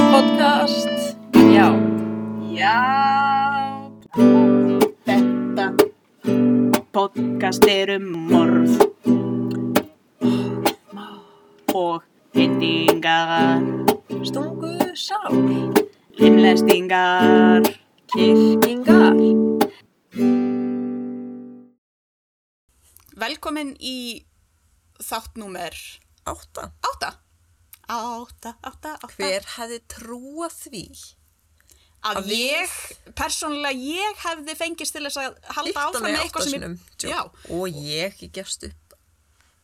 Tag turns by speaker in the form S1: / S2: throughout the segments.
S1: podcast
S2: Já,
S1: Já Þetta podcast er um morð og hendingar
S2: stungu sá,
S1: limlestingar
S2: kyrkingar.
S1: Velkomin í þáttnúmer
S2: Átta.
S1: 8 8, 8, 8
S2: Hver hefði trúað því?
S1: Að,
S2: að við-
S1: ég, persónulega ég hefði fengist til þess að halda
S2: Hitta mig
S1: áfram með
S2: átta
S1: eitthvað sem
S2: sinnum.
S1: ég, já,
S2: Og ég ekki gefst upp.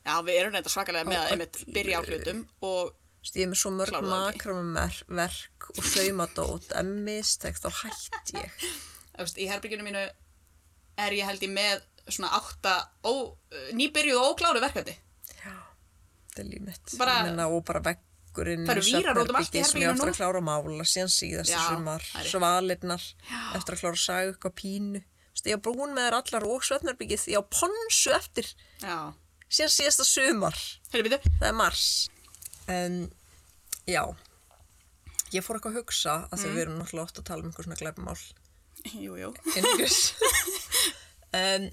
S1: já, við erum þetta svakalega með
S2: Á
S1: að einmitt
S2: öllu.
S1: byrja á hlutum og
S2: Stíði með svo mörg
S1: Kláraðu ekki.
S2: makramverk og saumadót en mistækt þá hætt ég.
S1: þú veist, í herbygginu mínu er ég held ég með svona átta ó, nýbyrjuð og ókláru verkefni
S2: Já, þetta er líf mitt.
S1: Bara-
S2: Ég meina, og bara veggurinn.
S1: Það eru
S2: í
S1: vírar út um allt í
S2: svefnherbergi sem ég á
S1: herberginu
S2: eftir að klára að mála síðan síðasta
S1: Já,
S2: sumar.
S1: það er rétt.
S2: Svalirnar. Eftir að klára að saga eitthvað pínu. Þú veist, Ég á brún með þér allar og svefnarbyggið. Ég á ponsu eftir
S1: Já,
S2: síðan síðasta sumar.
S1: heyrðu býtu
S2: það er mars en já ég fór eitthvað að hugsa að
S1: Mm.
S2: því við erum náttúrulega oft að tala um einhver svona glæpamál
S1: Jú, jú,
S2: einhvers en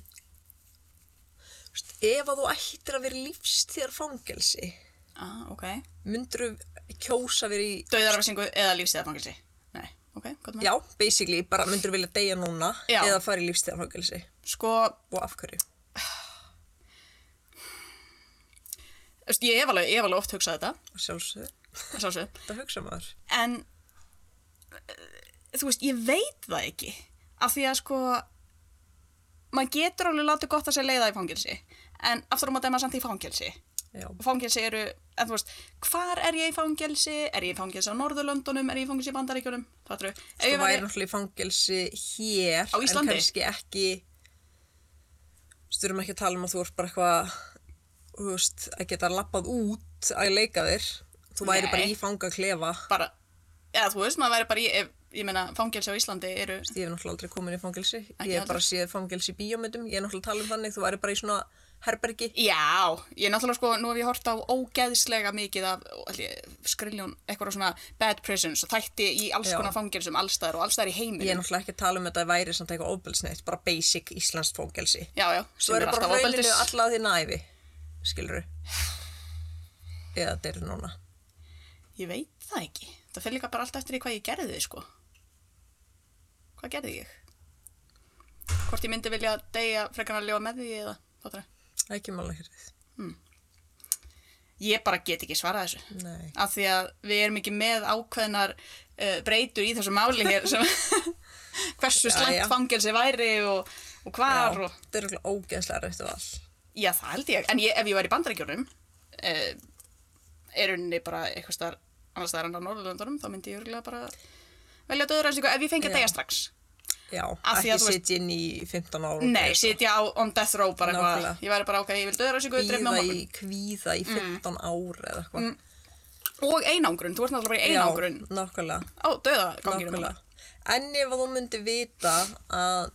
S2: veist, ef að þú ættir að vera lífstíðar fangelsi
S1: ah, ok
S2: myndur kjósa verið í
S1: Dauðarafsingu eða lífstíðafangelsi Nei, ok, gott með
S2: já, basically, bara myndur vilja deyja núna
S1: Já.
S2: eða fara í lífstíðar fangelsi
S1: Sko,
S2: og af hverju
S1: þú veist, ég hef alveg, ég hef alveg oft hugsað þetta
S2: og sjálfsög,
S1: að sjálfsögðu.
S2: þetta hugsa maður
S1: en eh, þú veist, ég veit það ekki af því að sko maður getur alveg látið gott að segja leiða í fangelsi en aftur á móti er maður samt í fangelsi
S2: já,
S1: og fangelsi eru, en þú veist hvar er ég í fangelsi, er ég í fangelsi á Norðurlöndunum, er ég í fangelsi í Bandaríkjunum fattur við,
S2: Þú
S1: ef ég
S2: Sko, væri
S1: væri
S2: náttúrulega í fangelsi hér
S1: Á Íslandi?
S2: En kannski ekki Sturum ekki að tala um að þú ert bara eitthvað Þú veist, að geta labbað út að leika þér Þú væri
S1: Nei.
S2: bara í fangaklefa
S1: bara, eða þú veist, maður væri bara í ef, ég meina, fangelsi á Íslandi eru
S2: Ég hef náttúrulega aldrei komin í fangelsi Ég
S1: Ekki
S2: hef bara
S1: heldur.
S2: séð fangelsi í bíómyndum Ég hef náttúrulega talað um þannig Þú væri bara í svona herbergi
S1: Já, ég náttúrulega sko, nú hef ég hort á ógeðslega mikið af skriljón, eitthvað svona bad prisons og þætti í alls
S2: Já.
S1: konar fangelsum allstæðar og allstæðar í
S2: Ég hef
S1: heiminum.
S2: náttúrulega ekki að tala um þetta að væri samt eitthvað ofbelsneitt Bara basic íslenskt fangelsi
S1: Já, já,
S2: Þú
S1: sem
S2: væri
S1: er
S2: bara
S1: alltaf
S2: rauninu
S1: óbeldis.
S2: alla þín ævi Skilur Eða deil núna
S1: Ég veit það ekki. Það fyrir líka bara allt eftir í hvað ég gerði, sko. Hvað gerði ég? Hvort ég myndi vilja deyja frekar en að ljóða með því eða þáttur það.
S2: Ekki mála hérðið
S1: Ég bara get ekki svarað þessu.
S2: Nei
S1: af því að við erum ekki með ákveðnar uh, breytur í þessu máli hér sem hversu
S2: Já, já.
S1: slæmt fangelsi væri og, og hvar
S2: Já,
S1: og
S2: þetta er okkur ógeðslega rætt og all.
S1: já það held ég, en ég, ef ég væri í bandarækjunum uh, er unni bara eitthvað starf annars það er hann á Norðurlöndunum, þá myndi ég örgulega bara velja döðurænslingu ef ég fengi að
S2: Já.
S1: degja strax.
S2: Já,
S1: Af því að
S2: ekki
S1: þú veist-
S2: sitja inn í 15 ára.
S1: Nei, sitja á on death row bara
S2: Nákvæmlega.
S1: eitthvað, ég væri bara ok, ég vil döðurænslingu, drefna á
S2: Býða í
S1: morgun. Mm.
S2: kvíða í 15 ára eða eitthvað.
S1: Og einangrun, þú ert náttúrulega bara í einangrun
S2: Já, nokkulega,
S1: á döðaganginum.
S2: nokkulega. En ef að þú myndir vita að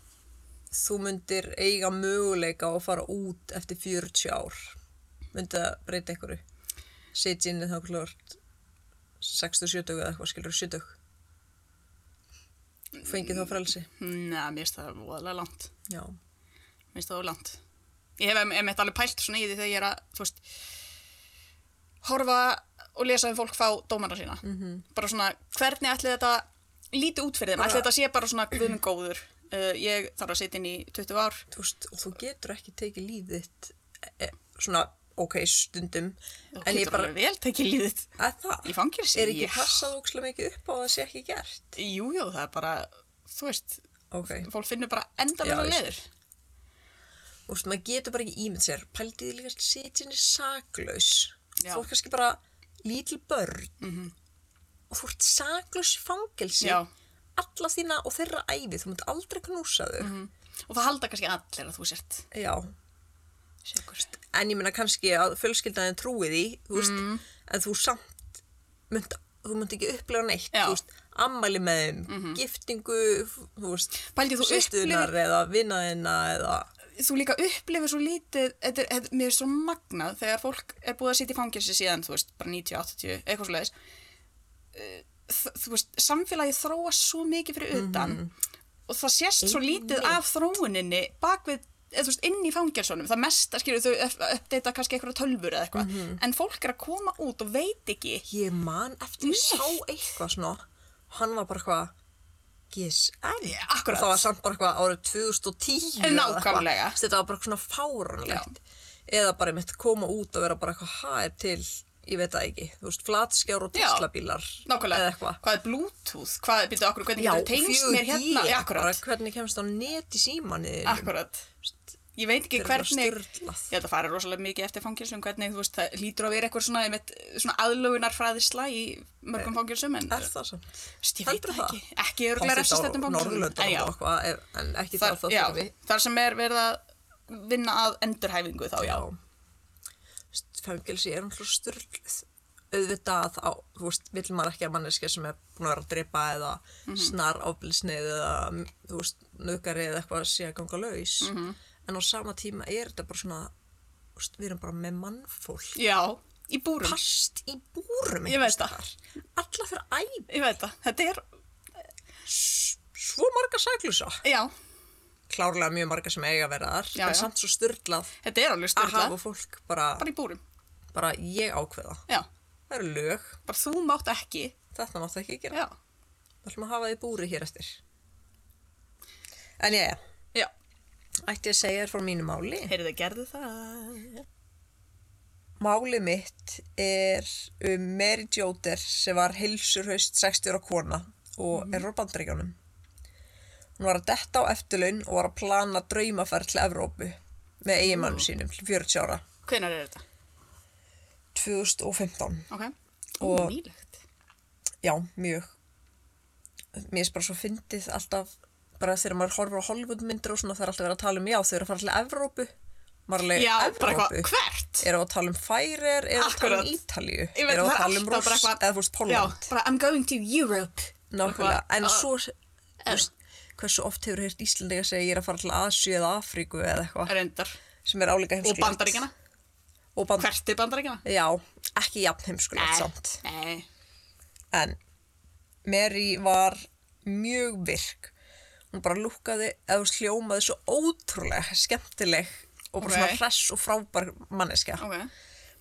S2: þú myndir eiga möguleika og fara út eftir 40 ár, myndi það breyta einhverju? Sitja inn í þá klart 60-70 eða eitthvað, skilur 70. Fengið þá frelsi.
S1: Nei, mér finnst það voðalega langt.
S2: Já.
S1: Mér finnst það ólant. Ég hef einmitt alveg pælt svona í því þegar ég er að, þú veist, horfa og lesa um fólk fá dómana sína.
S2: Mhm.
S1: -hmm. Bara svona, hvernig ætli þetta líti út fyrir þeim? Ætli þetta sé bara svona guðminn góður. Uh, ég þarf að sitja inn í 20 ár.
S2: þú veist, og þú getur ekki tekið lífið þitt e, e, svona, ok, stundum
S1: Þú
S2: en ég
S1: getur
S2: bara,
S1: alveg vel tekið lífið
S2: að það
S1: í fangelsi.
S2: er ekki
S1: Ég-
S2: passað ókslega mikið upp á að það sé ekki gert
S1: Jú, jú, það er bara, þú veist,
S2: ok,
S1: fólk finnur bara
S2: Já,
S1: endalega
S2: ég
S1: leður.
S2: þú veist, maður getur bara ekki ímynd sér pæltið líka sitjinni saklaus
S1: Já. Mhm.
S2: þú er kannski bara lítil börn og þú ert saklaus í fangelsi
S1: Já.
S2: alla þína og þeirra æfi þú munt aldrei knúsa þau
S1: Mhm. Og það halda kannski allir að þú sért.
S2: já,
S1: Sjökust.
S2: en ég meina kannski að fjölskyldaðin trúi því, þú veist,
S1: Mhm.
S2: en þú samt mynd, þú mynd ekki upplega neitt,
S1: Já.
S2: þú veist, ammæli með þeim, giftingu, þú veist,
S1: Pældi, þú
S2: sýstunar eða vinaðina eða,
S1: þú líka upplifir svo lítið þetta er, þetta, mér er svo magnað þegar fólk er búið að sitja í fangelsi síðan, þú veist, bara 90-80 eitthvað svo leiðis Eh, þ- þú veist, samfélagið þróast svo mikið fyrir utan
S2: Mhm.
S1: og það sést svo lítið af þróuninni bakvið, eða þú veist, inn í fangelsunum það mest að skilur þau að uppdeita kannski einhverja tölfur eða eitthvað,
S2: Mhm.
S1: en fólk er að koma út og veit ekki
S2: Ég man eftir ég sá
S1: Neitt.
S2: eitthvað svona Hann var bara eitthvað Gis, en
S1: Ja, akkurat.
S2: Og Það var samt bara eitthvað árið 2010
S1: En
S2: eða eitthvað.
S1: nákvæmlega.
S2: Þessi, Þetta var bara svona fáranlegt Eða bara mitt koma út og vera bara eitthvað Ha er til, ég veit það ekki Þú veist, flatskjár og
S1: Já.
S2: teslabílar Eða
S1: nákvæmlega,
S2: eitthvað
S1: hvað er bluetooth hvað, byrjuðu, okkur, hvernig
S2: Já,
S1: getur tengst mér
S2: 4G,
S1: hérna já,
S2: bara
S1: akkurat,
S2: hvernig kemst á net í símanni
S1: akkurat ég veit ekki
S2: Þetta er bara
S1: hvernig
S2: sturlað.
S1: ég held að fara rosalega mikið eftir fangilsum hvernig, þú veist, það lítur að vera eitthvað svona, einmitt, svona aðlögunarfræðisla í mörgum fangilsum en
S2: Er það samt?
S1: Vist, ég veit
S2: Eh, Heldur
S1: það
S2: það?
S1: ekki, ekki örgulega refsistendum
S2: Norðurlöndum
S1: já,
S2: og eitthvað ef- En ekki þar
S1: þar,
S2: þá
S1: já,
S2: fyrir við
S1: þar sem er verið að vinna að endurhæfingu þá, já,
S2: fangelsi er náttúrulega styrluð auðvitað á, þú veist, vill maður ekki að manneskja sem er búin að vera að drepa eða
S1: Mhm.
S2: snar oflisnið eða þú veist, nöðgari eða eitthvað sé að ganga laus
S1: Mhm.
S2: en á sama tíma er þetta bara svona þú veist, við erum bara með mannfólk
S1: já, í búrum
S2: past í búrum
S1: Ég veit það.
S2: alla fyrir æf
S1: ég veit það, þetta er,
S2: svo marga sæklusa
S1: já,
S2: klárlega mjög marga sem eiga að vera þar
S1: Já,
S2: en
S1: já.
S2: samt svo styrlað
S1: þetta er alveg
S2: að hafa
S1: styrla
S2: fólk bara,
S1: bara í búrum,
S2: bara ég ákveða
S1: já
S2: það eru lög,
S1: bara þú mátt ekki,
S2: þetta máttu ekki gera
S1: já,
S2: Það ætlum að hafa því búri hér eftir. En ég,
S1: já
S2: ætti að segja þér frá mínu máli.
S1: heyrðu þið gerðu það
S2: Máli mitt er um Mary Jóter sem var heilsurhaust 60 ára kona og er á bandaríkjónum. Hún var að detta á eftirlaun og var að plana draumaferð til Evrópu með eiginmannum sínum til 40 ára
S1: hvenær er þetta,
S2: 2015.
S1: ok,
S2: Og-
S1: nýlegt
S2: Já, mjög. Mér er bara svo fyndið alltaf, bara þegar maður horfir á Hollywoodmyndir og svona það er alltaf verið að tala um já, þau eru að fara til Evrópu. Maður er alveg,
S1: já, bara
S2: Evrópu.
S1: eitthvað, hvert
S2: Eru að tala um Færir, eru að tala um
S1: Akkurat.
S2: Ítalíu,
S1: Ég veit,
S2: eru
S1: það
S2: að
S1: er
S2: tala um Rúss,
S1: alltaf bara eitthvað-
S2: eða þú veist
S1: já,
S2: Pólland.
S1: bara I'm going to Europe
S2: Nákvæmlega,
S1: Eitthvað,
S2: en
S1: uh,
S2: svo, þú veist, hversu oft hefur heilt Íslandega segja ég er að fara til Asíu eða Afríku eða eitthvað,
S1: reyndar,
S2: sem er áleika
S1: og
S2: heimskulegt.
S1: bandaríkjana
S2: Og bandar,
S1: hvert er bandaríkjana
S2: já, ekki jafn heimskulegt samt.
S1: nei,
S2: En Mary var mjög virk. Hún bara lúkkaði eða hún sljómaði svo ótrúlega skemmtileg og bara
S1: Ok.
S2: svona hress og frábær manneskja.
S1: ok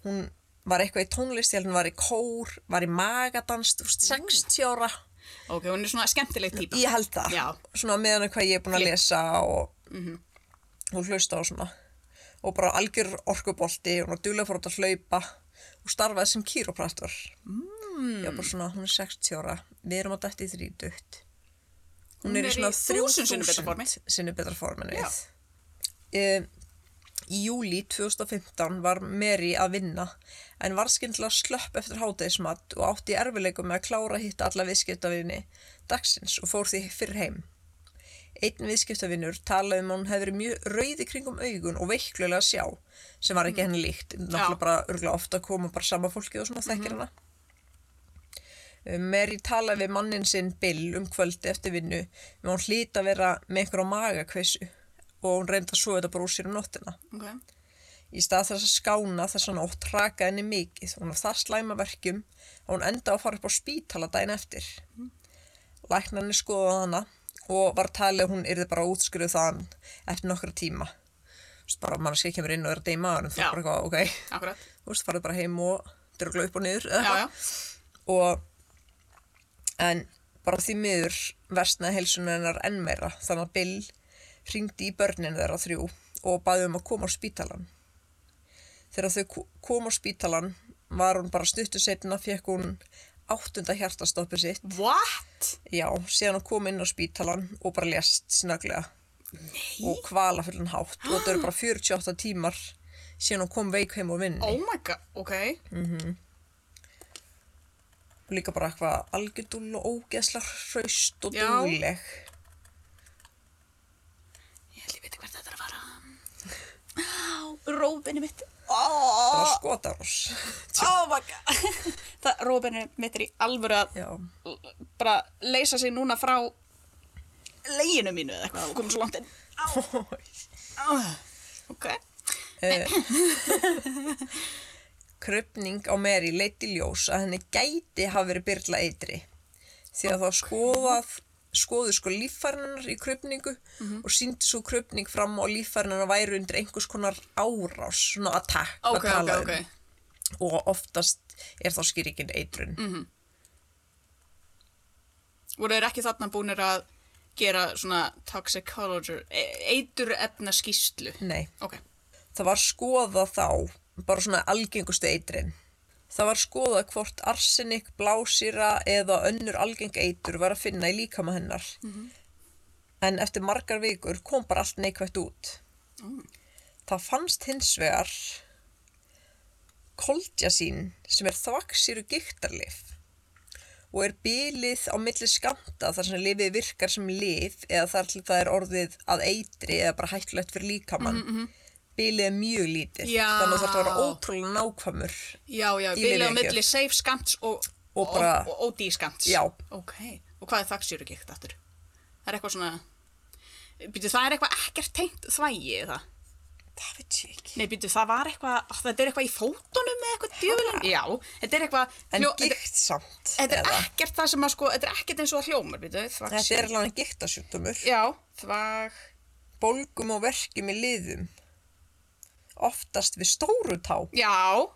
S2: Hún var eitthvað í tónlist, ég held hún var í kór, var í magadans, þú veist, 60 ára.
S1: Ok, hún er svona skemmtileg típa.
S2: Ég held það.
S1: Já. Mhm.
S2: Svona meðan er hvað ég er búin að lesa og hún hlusta á svona. Og bara algjör orkubolti, hún var duðlega fór út að hlaupa og starfaði sem kýróprættur. Mm. Já, bara svona, hún er 60 ára, við erum að dætti í þrítugt. Hún,
S1: Hún
S2: er
S1: er
S2: í
S1: í
S2: svona
S1: 1000 sinnum betra formi.
S2: 3000 sinni betra form en
S1: Já.
S2: við. Um, í júli 2015 var Mary að vinna en var skyndilega slöpp eftir hátegismat og átti í erfileikum með að klára að hitta alla viðskiptavinni dagsins og fór því fyrr heim. Einn viðskiptavinnur talaði um að hún hefði verið mjög rauð í kringum augun og veiklulega að sjá sem var ekki henni líkt, náttúrulega bara örgulega ofta koma bara sama fólki og svona þekkir hana. Um, Mary talaði við mannin sinn Bill um kvöldi eftir vinnu með hún hlýta að vera með einhverja magakvissu og hún reynda að sofa þetta bara úr sér um nóttina.
S1: Ok.
S2: Í stað þess að skána þess að nótt trakaði henni mikið hún var það slæma verkjum að hún enda að fara upp á spítala daginn eftir. Læknarni skoðaði hana og var talið að hún yrði bara útskriðu þaðan eftir nokkra tíma. Þú veist bara mannski kemur inn og er að deyma hann þá
S1: Já.
S2: bara eitthvað, ok,
S1: Akkurat.
S2: þú veist, farið bara heim og drögla upp og niður eða
S1: Já, já.
S2: og en bara því miður versnaði heilsuna hennar enn meira þannig að Bill ringdi í börninu þeirra þrjú og baði um að koma á spítalan þegar þau ko- komu á spítalan var hún bara stuttu setna fekk hún áttunda hjartastoppi sitt
S1: What?
S2: já, síðan hún kom inn á spítalan og bara lest snöglega Nei. og kvala fyrir hann hátt og þetta eru bara 48 tímar síðan hún kom veik heim og vinni
S1: Oh my god, ok.
S2: og líka bara eitthvað algjördull og ógeðsla hraust og
S1: Já.
S2: dugleg
S1: Ég held ég veit hvert þetta er að fara. Á, rófinni mitt.
S2: það
S1: Oh,
S2: var skotárás
S1: oh my god. Það, rófinni mitt er í alvöru að
S2: já,
S1: bara leysa sig núna frá leginu mínu eða eitthvað og komið svo langt inn. Oh. Ok.
S2: kröpning á Mary leiti ljós að henni gæti hafa verið byrla eitri því að það skoðað skoðu sko líffærinar í kröpningu
S1: Mhm.
S2: og síndi svo kröpning fram á að líffærinar væru undir einhvers konar árás, svona attack að
S1: Ok, ok,
S2: tala
S1: ok.
S2: um og oftast er þá skýringin eitrun
S1: Mhm. Voru þeir ekki þarna búinir að gera svona toxicology, e, eitur efna skýslu?
S2: Nei,
S1: Ok.
S2: það var skoðað þá bara svona algengustu eitrin það var skoðað hvort arsenik, blásýra eða önnur algeng eitur var að finna í líkama hennar en eftir margar vikur kom bara allt neikvætt út
S1: Mm.
S2: það fannst hins vegar koldjasín sem er þvaksýru giktarlif og er bylið á milli skamta þar sem lifið virkar sem lif eða þar til það er orðið að eitri eða bara hættulegt fyrir líkamann bylið er mjög lítið
S1: Mm, Já.
S2: þannig að það þarf að vera ótrúlega nákvæmur
S1: Já, já,
S2: Í
S1: vilja á
S2: lyfjagjöf.
S1: milli safe skamts og,
S2: Og bara-
S1: og, og OD skamts.
S2: Já.
S1: Ok, og hvað er þaksjúrugikt aftur? Það er eitthvað svona, býtu það er eitthvað ekkert tengt þvægi það?
S2: það veit ég ekki
S1: Nei, býtu það var eitthvað, ó, þetta er eitthvað í fótunum eða eitthvað djöfulinn? Já, þetta er eitthvað,
S2: en
S1: hljó- þetta-
S2: gikt samt
S1: þetta er
S2: eða,
S1: ekkert það sem að sko, þetta er ekkert eins og að hljómar, býtu,
S2: þetta
S1: þvaksjúrugikt.
S2: er alveg giktasjúkdómur
S1: Já, þvag,
S2: bólgum og verkjum í liðum oftast við stóru tá
S1: já,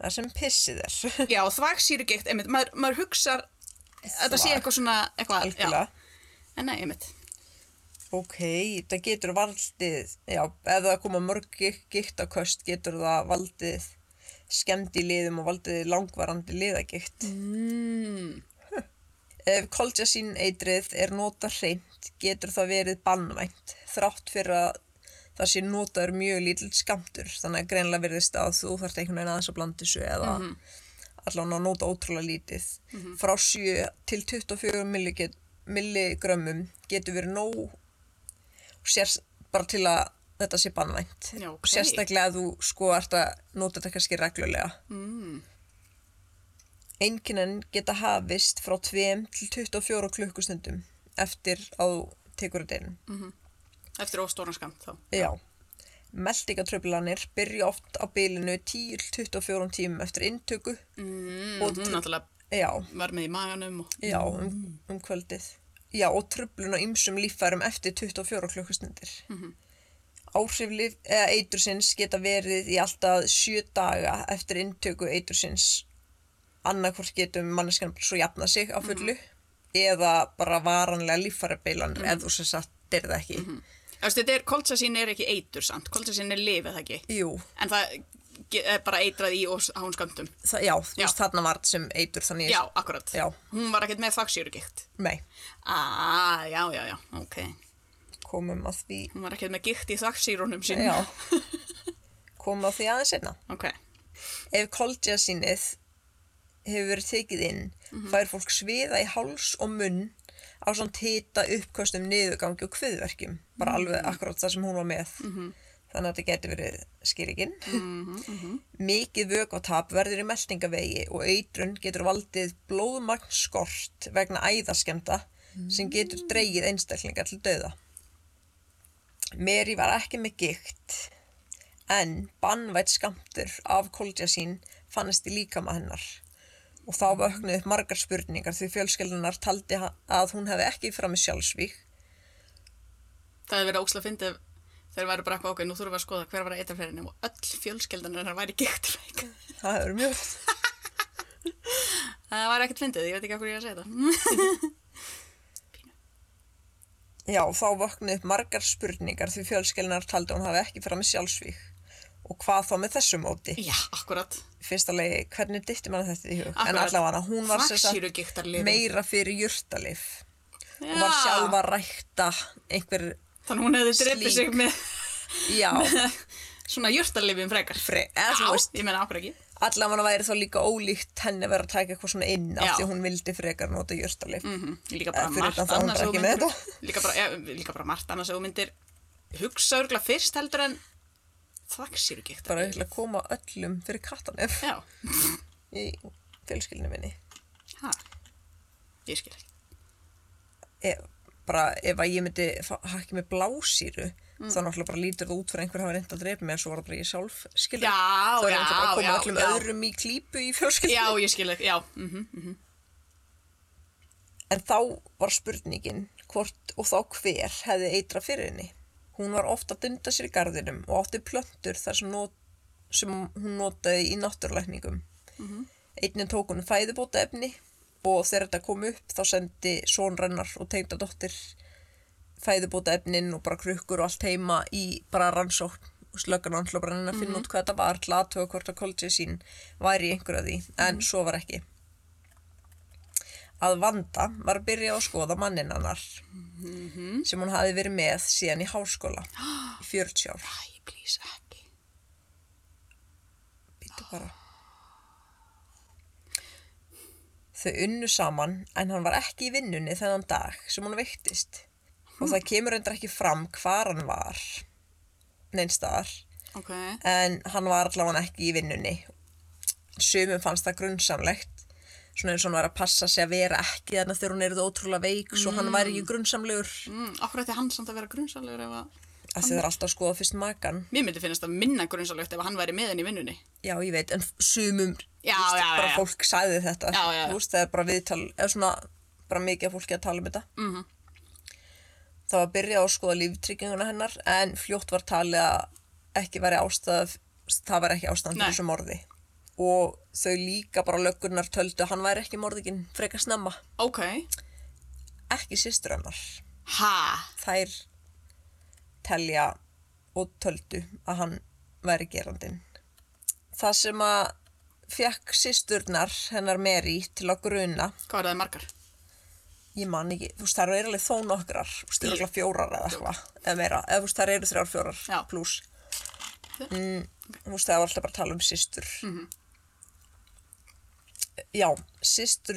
S2: þar sem pissið er
S1: já, þvaksjúrugikt, einmitt, maður, maður hugsar, þetta sé
S2: Þvag.
S1: eitthvað svona, eitthvað,
S2: algjörlega
S1: já, en nei, einmitt,
S2: Ok, það getur valdið, já, ef það koma mörg giktaköst getur það valdið skemmt í liðum og valdið langvarandi liðagikt. Mm. Ef koldjasín eitrið er nota hreint getur það verið bannvænt þrátt fyrir að það sé notaður mjög lítill skamtur þannig að greinlega verðist að þú þarft einhvern veginn aðeins að blanda þessu eða
S1: Mhm.
S2: allan að nota ótrúlega lítið frá 7 til 24 millige- milligrömmum getur verið nóg sér, bara til að þetta sé bannvænt
S1: Já, ok.
S2: sérstaklega að þú sko ert að nota þetta kannski reglulega mm. einkennin geta hafist frá 2 til 24 klukkustundum eftir að þú tekur þetta inn
S1: Mm. eftir óstóran skamt þá.
S2: Já. Meldingatröflanir byrja oft á bilinu 10-24 tímum eftir inntöku.
S1: Mm,
S2: Og
S1: hún
S2: til-
S1: náttúrulega
S2: Já,
S1: var með í maganum og...
S2: já, um, um kvöldið. Já, og tröflun á ymsum líffærum eftir 24 klukkustundir. Mm
S1: Mhm.
S2: -hmm. Áhrif líf, eða eitursins geta verið í alltaf 7 daga eftir inntöku eitursins. Annarkvort getum manneskan svo jafna sig á fullu
S1: Mhm.
S2: eða bara varanlega líffærabilanir ef þú sem sagt dyrði ekki.
S1: Þú veist, þetta er, koltsasín er ekki eitur samt, koltsasín er lif eða ekki,
S2: Jú,
S1: en það ge- er bara eitrað í og hún sköndum.
S2: það, já, þú
S1: Já.
S2: veist þarna var sem eitur þannig
S1: Já, akkurat.
S2: Já.
S1: Hún var ekkert með þaksýrugikt.
S2: Nei,
S1: Ah, já, já, já, ok.
S2: komum að því
S1: Hún var ekkert með gikt í þaksýrunum sín.
S2: Já Komum að því aðeins einna
S1: Ok,
S2: Ef koldjasínið hefur verið tekið inn fær fólk sviða í háls og munn á svona hita uppkostum niðurgangi og kviðverkjum bara alveg akkurat það sem hún var með þannig að þetta getur verið skýrikinn Mikið vökvatap verður í meldingavegi og eitrun getur valdið blóðmagnskort vegna æðaskemda sem getur dreigið einstaklingar til döða Meri var ekki með gikt en bannvætt skamtur af koldjasín fannst í líkama hennar og þá vöknuð upp margar spurningar því fjölskeldunar taldi ha- að hún hefði ekki framið sjálfsvík
S1: það hefur verið ósla fyndið ef þeir væri bara eitthvað ok, nú þurfum við að skoða hver var að eitra fyrir henni og öll fjölskeldan hennar væri giktveik.
S2: það hefur mjög
S1: Það var ekkert fyndið, ég veit ekki af hverju ég er að segja þetta.
S2: já, þá vöknuð upp margar spurningar því fjölskeldunar taldi að hún hefði ekki framið sjálfsvík og hvað þá með þessu móti
S1: Já, akkurat.
S2: fyrsta lagi, hvernig dytti mann þetta í hug en
S1: Akkurat.
S2: allavega hún var sem sagt
S1: Þvagsýrugigtarlyfin.
S2: meira fyrir jurtalif
S1: Já.
S2: og var sjálf að rækta einhver,
S1: Þannig hún hefði dreipið sig
S2: Slík.
S1: með
S2: já,
S1: svona jörtalifin frekar.
S2: fre, eða þú veist
S1: ég menna okkur ekki.
S2: Allavega væri þá líka ólíkt henni að vera að taka eitthvað svona inn af
S1: Já.
S2: því að hún vildi frekar nota jörtalif.
S1: Mhm, líka bara
S2: Eh, fyrir
S1: margt
S2: utan það hún bara
S1: annars ef þú
S2: ekki með
S1: myndir- líka bara, ja, líka bara margt annars ef þú myndir hugsa örgla fyrst heldur en þvaksýru gikt
S2: Bara til að koma öllum fyrir kattanef
S1: já,
S2: í fjölskyldinu minni.
S1: ha. ég skil ekki
S2: Ef, bara ef að ég myndi fa- hakka með blásýru,
S1: Mm.
S2: þá náttúrulega bara lítur það út fyrir að einhver hafa reynd að dreipa mig en svo var það bara ég sjálf skilur.
S1: Já,
S2: þá er
S1: já,
S2: náttúrulega bara að koma
S1: já,
S2: öllum
S1: já. Mm.
S2: öðrum í klípu í fjölskyldinu.
S1: já, ég skil ekki, já, mhm, mhm.
S2: En þá var spurningin hvort og þá hver hefði eitra fyrir henni. Hún var ofta að dunda sér í garðinum og átti plöntur þar sem, not, sem hún notaði í náttúrlækningum. Mm Einnig tók hún fæðubóta efni og þegar þetta kom upp þá sendi sonrennar og tengdadóttir fæðubóta efnin og bara krukkur og allt heima í bara rannsókn og slöggan og að finna út hvað þetta var til aðtöða hvort að koltið sín væri í einhverju af því, en svo var ekki að Vanda var að byrja að skoða mannin hannar sem hún hafi verið með síðan í háskóla í 40 ár
S1: Æ, please, ekki.
S2: Býttu bara. Þau unnu saman en hann var ekki í vinnunni þennan dag sem hún veiktist og það kemur endur ekki fram hvar hann var neinstaðar
S1: Ok.
S2: en hann var allavega ekki í vinnunni sumum fannst það grunnsamlegt svona eins og hann var að passa sig að vera ekki þannig að þegar hún er það ótrúlega veik svo hann væri ekki grunnsamlegur
S1: Mm, okkur ætti hann samt að vera grunnsalegur ef að...
S2: að þau er alltaf að skoða fyrst makan
S1: Mér myndi finnast það minna grunsalegt ef hann væri með henni í vinnunni.
S2: Já, ég veit, en sumum
S1: Já,
S2: þú veist,
S1: já,
S2: bara
S1: já.
S2: fólk sagði þetta
S1: Já, já, já.
S2: Þú veist, það er bara viðtal eða svona bara mikið af fólki að tala um þetta mm
S1: Mhm.
S2: -hmm. Það var byrjað að skoða líftrygginguna hennar en fljótt var talið að ekki veri ástæð það var ekki ástæðan
S1: Nei.
S2: fyrir þessu morði og þau líka bara löggunar töldu að hann væri ekki morðikinn frekar snemma
S1: Ok.
S2: ekki systur hennar
S1: Ha?
S2: þær telja og töldu að hann væri gerandin. Það sem að fekk sýsturnar hennar Mary til að gruna,
S1: Hvað er það margar?
S2: ég man ekki, þú veist, þær eru alveg þó nokkrar, þú veist, eru alveg fjórar eða eitthvað, eða meira, eða þú veist, þær eru þrjár fjórar
S1: Já. Hm.
S2: pluss. Mm, þú veist, það var alltaf bara að tala um sýstur.
S1: Mhm.
S2: Já, sýstur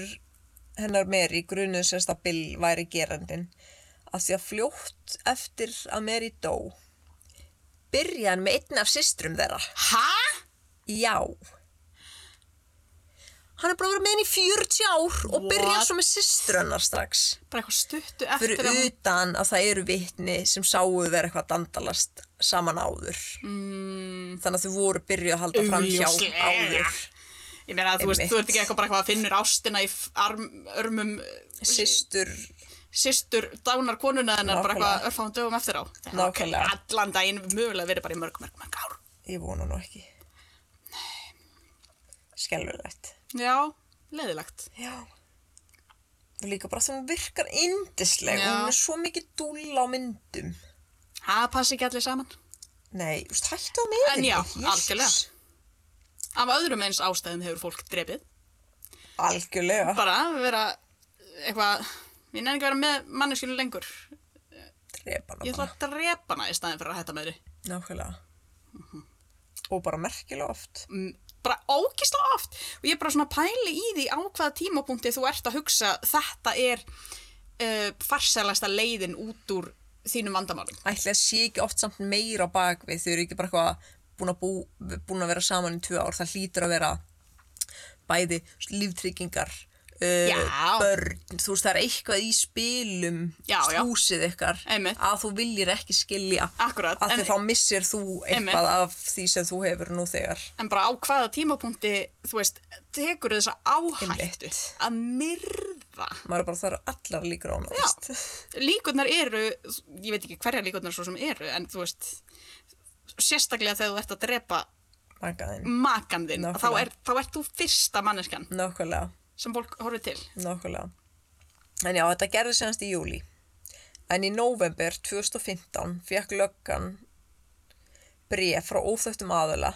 S2: hennar Mary grunuð semst að Bill væri gerandin að því að fljótt eftir að Mary dó byrja hann með einn af systrum þeirra
S1: Ha?
S2: já hann er bara að vera með henni í 40 ár og byrja
S1: What?
S2: svo með systur hennar strax
S1: Bara eitthvað stuttu
S2: fyrir
S1: eftir að hún...
S2: utan að það eru vitni sem sáu þeir eitthvað dandalast saman áður mm. þannig að þau voru byrjuð að halda fram hjá
S1: Augljóslega.
S2: áður
S1: Ég meina að þú veist,
S2: Einmitt.
S1: þú ert ekki eitthvað bara eitthvað að finnur ástina í f- arm, örmum
S2: systur
S1: sýstur dánar konuna hennar bara
S2: Nákvæmlega.
S1: eitthvað örfáum dögum eftir á. Það
S2: Nákvæmlega.
S1: gæti Allan daginn mögulega verið bara í mörg, mörg, mörg ár.
S2: ég vona nú ekki nei skelverlegt
S1: Já, leiðilegt.
S2: Já. Og líka bara því hún virkar yndisleg og
S1: Já.
S2: hún er svo mikið dúlla á myndum.
S1: Það passi ekki allir saman.
S2: Nei, þú veist, hættu á meðinni.
S1: En já,
S2: Jesus.
S1: algjörlega. Af öðrum eins ástæðum hefur fólk drepið.
S2: Algjörlega.
S1: Bara að vera eitthvað, ég nefn ekki að vera með manneskjölu lengur.
S2: Drepa hana
S1: Ég ætla
S2: bara.
S1: að drepa hana í staðin fyrir að hætta með því.
S2: Nákvæmlega. Og bara merkilega oft.
S1: Mm, Bara ógislega oft. Og ég er bara svona pæli í því á hvaða tímapunkti þú ert að hugsa þetta er uh, farsalasta leiðin út úr þínum vandamálum.
S2: Ætli að sé ekki oft samt meira á bakvið þau eru ekki bara eitthvað búin að, bú, búin að vera saman í tvö ár. Það hlýtur að vera bæði líftryggingar, uh,
S1: Já.
S2: börn, þú veist það er eitthvað í spilum,
S1: Já, já.
S2: slúsið ykkar,
S1: Einmitt.
S2: að þú viljir ekki skilja.
S1: Akkurat.
S2: Af
S1: en-
S2: því þá missir þú eitthvað
S1: Einmitt.
S2: af því sem þú hefur nú þegar.
S1: en bara á hvaða tímapunkti þú veist, tekur þessa áhættu
S2: Einmitt.
S1: að myrða
S2: Maður er bara þarf allar líkur á hana,
S1: Já.
S2: veist.
S1: líkurnar eru, ég veit ekki hverja líkurnar svo sem eru, en þú veist sérstaklega þegar þú ert að drepa
S2: Makaðinn.
S1: makan þinn,
S2: Nákvæmlega.
S1: þá, er, þá ert þú fyrsta manneskan
S2: Nákvæmlega,
S1: sem fólk horfir til
S2: nákvæmlega. En já, þetta gerði senast í júli. En í november 2015 fekk löggan bref frá óþöftum aðila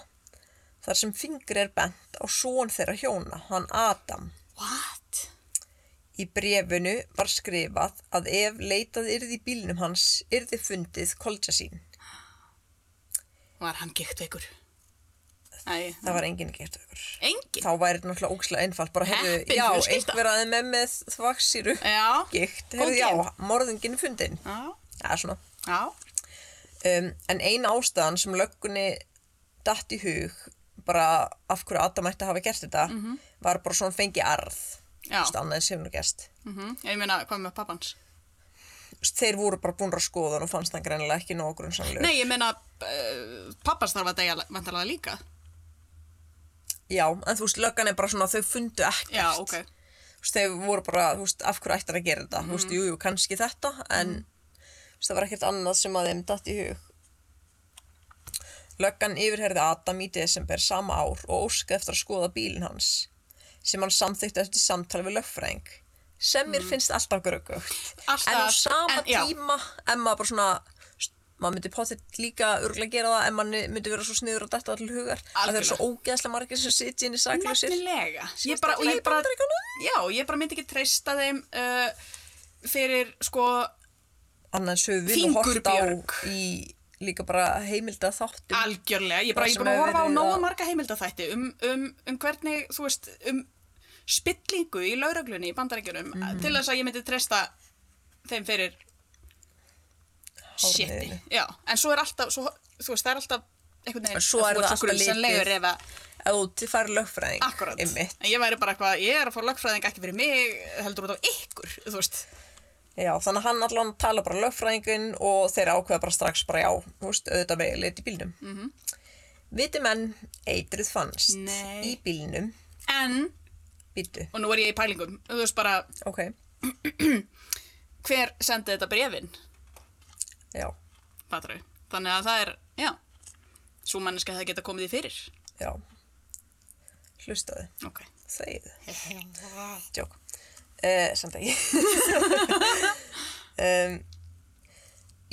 S2: þar sem fingri er bent á són þeirra hjóna, hann Adam.
S1: What?
S2: Í brefinu var skrifað að ef leitað yrði í bílnum hans yrði fundið kolja sín.
S1: Var hann gikt veikur? Nei,
S2: Það var enginn gert aukur.
S1: engin
S2: þá væri þetta náttúrulega ógæslega einfalt bara hefðu,
S1: Heppin
S2: já,
S1: fjölskylda.
S2: einhver aðeins með með þvaksýru
S1: Já,
S2: gikt,
S1: Góð
S2: hefðu,
S1: gjöf.
S2: já, morðingin er fundin
S1: já,
S2: það er svona
S1: já
S2: um, en eina ástæðan sem löggunni datt í hug bara af hverju Adam ætti að hafa gert þetta var bara svona fengi arð
S1: Mhm. Já.
S2: stannaði sem hún gerst
S1: mm Ég meina, hvað með pappans?
S2: Þú veist, þeir voru bara búin að skoða hann og fannst hann greinilega ekki nógu grunnsamlega
S1: Nei, ég meina uh, pappans þarf að degja vantalega líka
S2: já, en þú veist, löggan er bara svona þau fundu ekkert
S1: Já, ok,
S2: Þú þú veist, þeir voru bara, þú veist, af hverju ættir að gera þetta, þú veist,
S1: Mm.
S2: jú, jú, kannski þetta, en þú veist, það var ekkert annað sem að þeim datt í hug. Löggan yfirherði Adam í desember sama ár og óskaði eftir að skoða bílinn hans, sem hann samþykti eftir samtal við lögfræðing, sem mér finnst alltaf gröggugt.
S1: Mm. Alltaf,
S2: En á sama
S1: en- já.
S2: tíma, en maður bara svona, þú veist, maður myndi potið líka örgulega gera það, en maður myndi vera svo sniður og detta til hugar, að það eru svo ógeðslega margir sem sitja inn í saklausir.
S1: Nefnilega. Ég
S2: Síðast
S1: bara, og
S2: allavega
S1: ég
S2: í
S1: bara,
S2: Bandaríkjunum.
S1: já, ég bara myndi ekki treysta þeim uh, fyrir, sko,
S2: annars höfum við nú hort á
S1: Fingurbjörg.
S2: í líka bara heimilda þáttum
S1: algjörlega. Ég bara,
S2: Það
S1: ég
S2: sem
S1: bara
S2: hefur
S1: horfa á
S2: verið
S1: nógu
S2: að-
S1: marga heimildaþætti um, um, um hvernig, þú veist, um spillingu í lauruglunni í bandarækjunum
S2: Mhm.
S1: til þess að ég myndi treysta þeim fyrir shiti.
S2: hárniðinu.
S1: Já, en svo er alltaf, svo, þú veist, það er alltaf einhvern veginn,
S2: Svo er það
S1: þú ert
S2: alltaf
S1: grunsamlegur
S2: litið.
S1: ef að
S2: Ef þú til fær lögfræðing
S1: Akkurat,
S2: einmitt.
S1: en ég væri bara eitthvað, ég er að fá lögfræðing ekki fyrir mig, heldur út á ykkur, þú veist.
S2: Já, þannig að hann allan tala bara lögfræðingin og þeir ákveða bara strax bara já, þú veist, auðvitað með lit í bílnum mm
S1: Mhm.
S2: -hmm. Viti menn, eitrið fannst
S1: Nei.
S2: í bílnum,
S1: En,
S2: býtu,
S1: og nú er ég í pælingum, þú veist bara,
S2: ok,
S1: hver sendi þetta brefin,
S2: já,
S1: Patru? Þannig að það er, já, svo manneska hefði geta komið því fyrir.
S2: já, hlustaðu,
S1: Ok.
S2: þegiðu. Djók. Uh, samt ekki. um,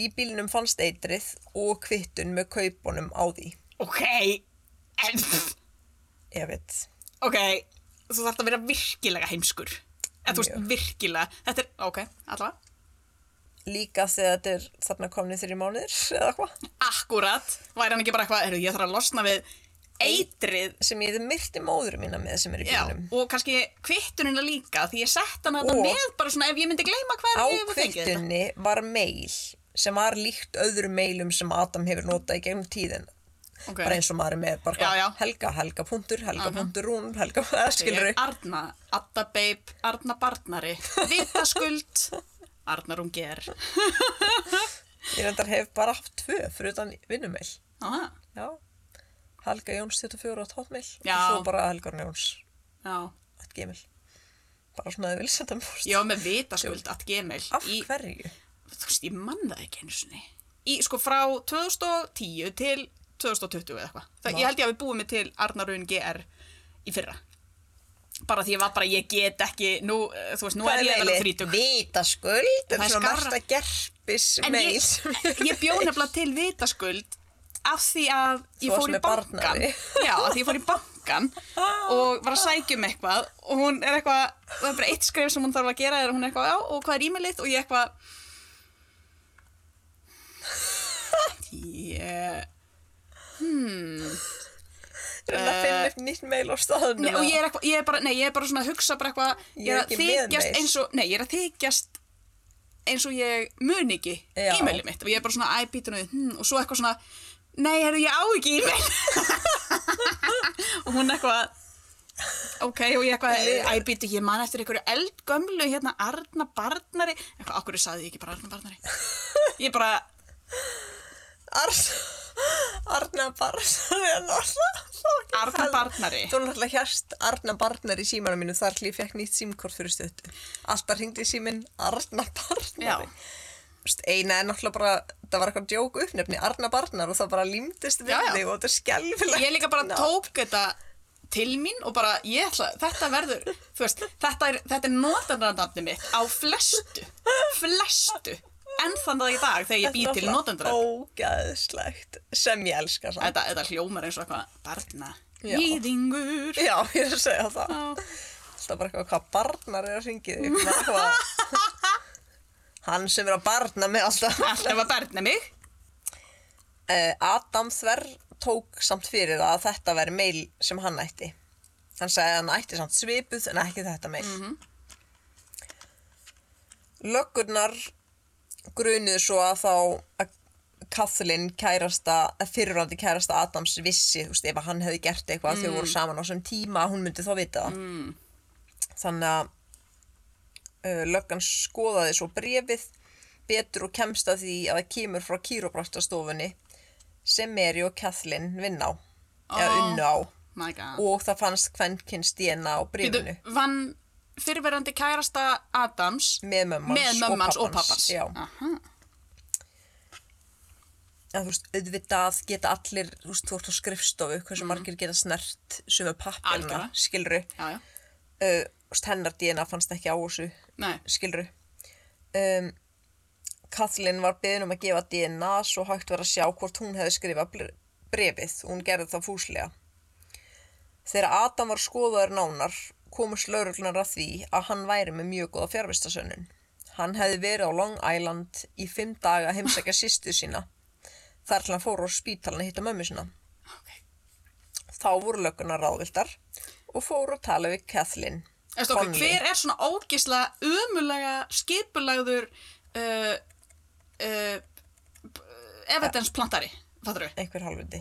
S2: í bílnum fannst eitrið og kvittun með kaupunum á því.
S1: Ok, en,
S2: Ég veit.
S1: ok, þú þarf að vera virkilega heimskur. Eða þú veist,
S2: Mjög.
S1: virkilega, þetta er, ok, allavega,
S2: Líka þegar þetta er þarna komnið þrjum mánuðir eða hvað.
S1: akkurat, væri hann ekki bara eitthvað, heyrðu, ég þarf að losna við eitrið
S2: Sem ég hefði myrti móður mína með sem er í
S1: Já,
S2: bílnum.
S1: og kannski kvittunina líka því ég sett hann
S2: Og-
S1: þarna með bara svona ef ég myndi gleyma hvað
S2: Á
S1: ég hefur fengið þetta.
S2: kvittunni var meil sem var líkt öðrum meilum sem Adam hefur notað í gegnum tíðin.
S1: Ok.
S2: Bara eins og maður er með bara
S1: Já, já.
S2: helga, helga punktur, helga punktur, rún, helga, skilur
S1: Ég- Arna, Adda Beip, Arna Barnari Vitaskuld Arnar um ger
S2: Ég reyndar hef bara haft tvö fyrir utan vinnumeil.
S1: Aha,
S2: Já. Helga Jóns 24 á tóttmeil
S1: Já.
S2: og svo bara Helgar Jóns
S1: Já,
S2: at gmail. Bara svona að þið vil senda mér post.
S1: ég var með Vitaskuld at Gmail
S2: Af
S1: í,
S2: hverju?
S1: þú veist, ég mann það ekki einu sinni í, sko, frá 2010 til 2020 eða eitthvað Það- ég held ég hafi búið mig til Arnarun GR í fyrra bara því ég var bara, ég get ekki nú, eh, þú veist, nú er ég vel að þrítug
S2: Vita skuld. Það
S1: Það
S2: er
S1: er
S2: svona
S1: skarra-
S2: margt að gerpis
S1: En
S2: meil.
S1: ég, ég bjó nefnilega til vitaskuld af því að
S2: Þú
S1: ég
S2: varst
S1: fór í
S2: með
S1: bankan
S2: barnari.
S1: Já, af því ég fór í bankan og var að sækja um eitthvað og hún er eitthvað, það er bara eitt skref sem hún þarf að gera er hún er eitthvað, já, og hvað er e-mailið og ég eitthvað Ég
S2: Ég er að finna upp nýtt meil á staðunum.
S1: Nei, og ég er, eitthvað, ég, er bara, nei, ég er bara svona að hugsa bara eitthvað,
S2: Ég
S1: ég
S2: er
S1: er að
S2: ekki með
S1: þykjast
S2: meir.
S1: eins og, nei, ég er að þykjast eins og ég mun ekki
S2: Já.
S1: e-mailið mitt og ég er bara svona æ, býtur við, hm, og svo eitthvað svona, nei, heyrðu, ég á ekki e-mail og hún eitthvað, ok, og ég eitthvað, æ, býtu, ég man eftir einhverju eldgömlu hérna, Arna Barnari, eitthvað, okkur saði ég ekki bara Arna Barnari, ég bara,
S2: Ars... Arna Barnar er náttúrulega...
S1: Arna Barnari.
S2: Þú er náttúrulega hérst Arna Barnar í símanum mínu þar til ég fekk nýtt símkort fyrir stöttu. Alltaf hringdi í síminn Arna Barnari.
S1: Já.
S2: Þú veist, Eina er náttúrulega bara, það var eitthvað djók uppnefni, Arna Barnar og það bara límdist við
S1: Já, já.
S2: þig og þetta er skelfilegt.
S1: ég líka bara
S2: nafn.
S1: tók þetta til mín og bara ég ætla, þetta verður, þú veist, þetta er, þetta er notandarnafni mitt á flestu, flestu, enn þann dag í dag þegar ég býð til notandarnafni.
S2: Ógæðslegt, sem ég elska samt.
S1: Þetta, þetta hljómar eins og eitthvað barna,
S2: Já.
S1: hýðingur,
S2: Já, ég er að segja það.
S1: Já.
S2: Alltaf bara eitthvað hvað barnar er að hringið þig. bara eitthvað- Hann sem er að barna mig alltaf.
S1: alltaf að barna mig.
S2: Eh, Adam Þver tók samt fyrir það að þetta veri meil sem hann ætti. Hann sagði að hann ætti samt svipuð en ekki þetta meil. Mm Löggurnar grunuðu svo að þá að Kathleen kærasta, að fyrirrandi kærasta Adams vissi, þú veist, ef að hann hefði gert eitthvað mm. þau voru saman á sem tíma, hún myndi þá vita það. Mm. Þannig að uh, löggan skoðaði svo brefið betur og kemst að því að það kemur frá kýrópraktastofunni sem Mary og Kathleen vinna á eða
S1: Ó.
S2: unnu á
S1: My god.
S2: og það fannst kvennkynst DNA á
S1: Býtu,
S2: brefinu
S1: vann fyrirverandi kærasta Adams
S2: með mömmans,
S1: með mömmans og pappans.
S2: Já,
S1: Aha.
S2: en þú veist, auðvitað geta allir, þú veist, þú ert á skrifstofu, hversu margir geta snert sumu pappirna,
S1: Mm. Algjörlega.
S2: skilru.
S1: Já, já.
S2: Uh, þú veist, hennar DNA fannst ekki á þessu,
S1: Nei,
S2: skilru. Um, Kathleen var beðin um að gefa DNA svo hægt var að sjá hvort hún hefði skrifað br- bréfið og hún gerði það fúslega. Þegar Adam var skoðaður nánar komust lauruglunar að því að hann væri með mjög góða fjárvistasönnun. Hann hefði verið á Long Island í fimm daga að heimsækja sýstu sína þar til hann fór á spítalinn að hitta mömmu sína.
S1: ok.
S2: Þá voru löggunar ráðviltar og fóru að tala við Kathleen.
S1: Eftir, okay,
S2: Conley.
S1: hver er svona ógisla umulega skipulagður uh, uh, b- evidence plantari fattur við?
S2: Einhver halvviti.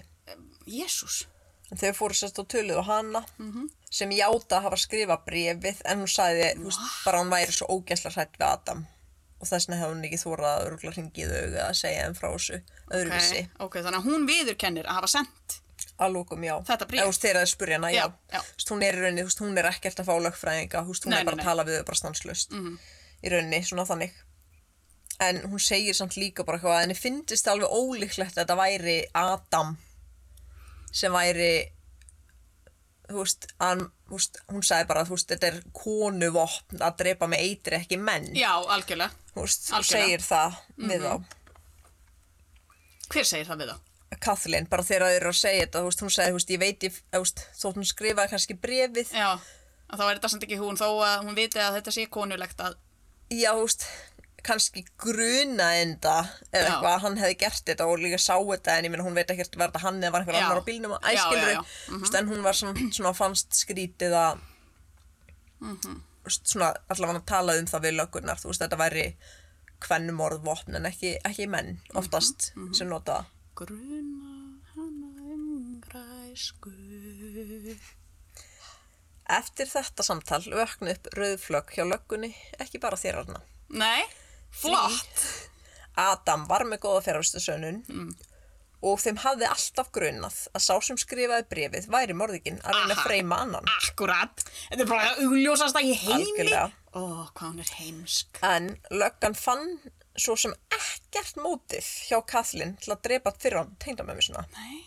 S1: Jésús
S2: En þau fóru sérst og töluðu á hana sem játa að hafa skrifað brefið en hún sagði þú veist, bara að hún væri svo ógæsla hrætt við Adam og þess vegna hefði hún ekki þórað að örgulega ringi þau að segja þeim frá þessu öðruvísi
S1: okay, ok, þannig að hún viðurkennir að hafa sendt
S2: að lókum já
S1: Þetta bréf.
S2: Eða, þú veist, þegar þau spurja hana já,
S1: Já, já.
S2: Þú veist, hún er í rauninni, þú veist, hún er ekkert að fá lögfræðinga þú veist, hún
S1: Nei,
S2: er bara
S1: nei, Mhm.
S2: að tala við þau bara stanslust -hmm. í rauninni svona þannig en hún segir samt líka bara hvað henni finnist alveg ólíklegt að þetta væri Adam sem væri þú veist, hann, þú veist, hún sagði bara þú veist, þetta er konuvopn að drepa með eitri ekki menn
S1: Já, algjörlega.
S2: þú veist, þú
S1: Algjörlega. Mhm.
S2: segir það við þá
S1: Hver segir það við þá?
S2: Kathleen, bara þegar þau eru að segja þetta þú veist, hún sagði, þú veist, ég veit ég, þú veist, þótt hún skrifaði kannski brefið,
S1: Já, að þá er þetta samt ekki hún þó að hún viti að þetta sé konulegt að
S2: já, þú veist kannski grunaði enda eða
S1: Já.
S2: eitthvað, að hann hefði gert þetta og líka sá þetta en ég meina hún veit ekkert var þetta hann eða var einhver
S1: Já.
S2: annar á bílnum og
S1: Já, já,
S2: æskilur
S1: já. Mhm.
S2: en hún var svona, svona fannst skrítið að mm
S1: Mhm.
S2: svona allavega hann talaði um það við lögurnar, þú veist, þetta væri kvennumorðvopn en ekki, ekki menn
S1: Mhm,
S2: oftast sem nota það
S1: gruna hana um græsku.
S2: Eftir þetta samtal vöknu upp rauðflögg hjá löggunni, ekki bara þér Arna.
S1: Nei, flott.
S2: Adam var með góða fjárvistasönun og þeim hafði alltaf grunað að sá sem skrifaði brefið væri morðikinn að reyna
S1: Aha.
S2: að freyma annan.
S1: Akkurat. Þetta er bara að augljósast í heimi.
S2: Algjörlega.
S1: Ó, hvað hún er heimsk.
S2: En löggan fann svo sem ekkert mótið hjá Kathleen til að drepa fyrir hann tengdamömmu sinna.
S1: Nei.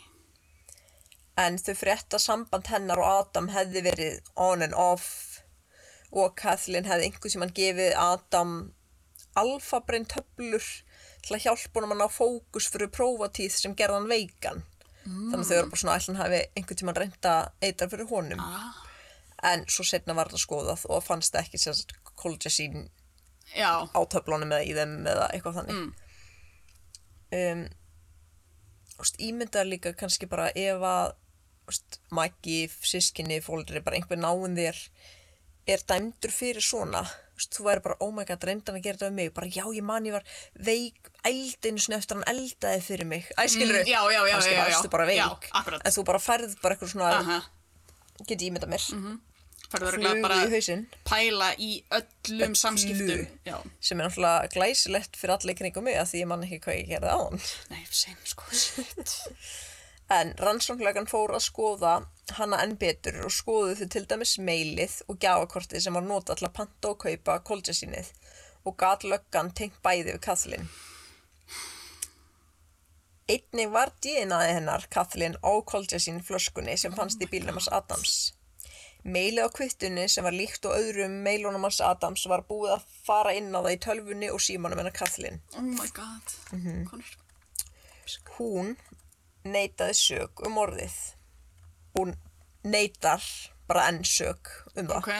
S2: En þau frétta samband hennar og Adam hefði verið on and off og Kathleen hefði einhvern sem hann gefið Adam alfabrein töflur til að hjálpa honum að ná fókus fyrir prófatíð sem gerði hann veikan. Þannig að þau eru bara svona ætlun hafi einhvern tímann reynda eitar fyrir honum.
S1: Ah.
S2: En svo setna var það skoðað og fannst það ekki sérst kolgesín
S1: Já,
S2: á töflunum eða í þeim eða eitthvað þannig mm. um, úst, ímyndaði líka kannski bara ef að úst, Maggi, sískinni, fólitri bara einhver náinn þér er dæmdur fyrir svona úst, þú væri bara, oh my god, reyndan að gera þetta um mig bara já, ég man ég var veik eldinu sinni eftir hann eldaði fyrir mig æskilur,
S1: Mm, já, já, já,
S2: kannski
S1: já, já,
S2: varstu bara veik
S1: já, akkurat.
S2: en þú bara færð bara eitthvað svona
S1: aha.
S2: get ég ímyndað mér, mm
S1: Færðu örgulega bara
S2: í hausinn
S1: pæla í öllum samskiptum. Já,
S2: sem er náttúrulega glæsilegt fyrir allir kringum mig að því ég man ekki hvað ég gerði á hann
S1: nei, sem sko, shit.
S2: En rannsóknlegan fór að skoða hana enn betur og skoðu þau til dæmis meilið og gjafakortið sem var notað til að panta og kaupa koltjasínið og gat löggan tengt bæði við Kathleen. Einnig var DNAði hennar Kathleen á koltjasín flöskunni sem fannst í bílnum hans Adams. Meilið á kvittunni sem var líkt og öðrum meilunum hans Adams var búið að fara inn á það í tölvunni og símanum hennar Kathleen.
S1: Oh my god. Mm
S2: Mhm.
S1: Konur.
S2: hún neitaði sök um orðið hún neitar bara enn sök um það
S1: Ok.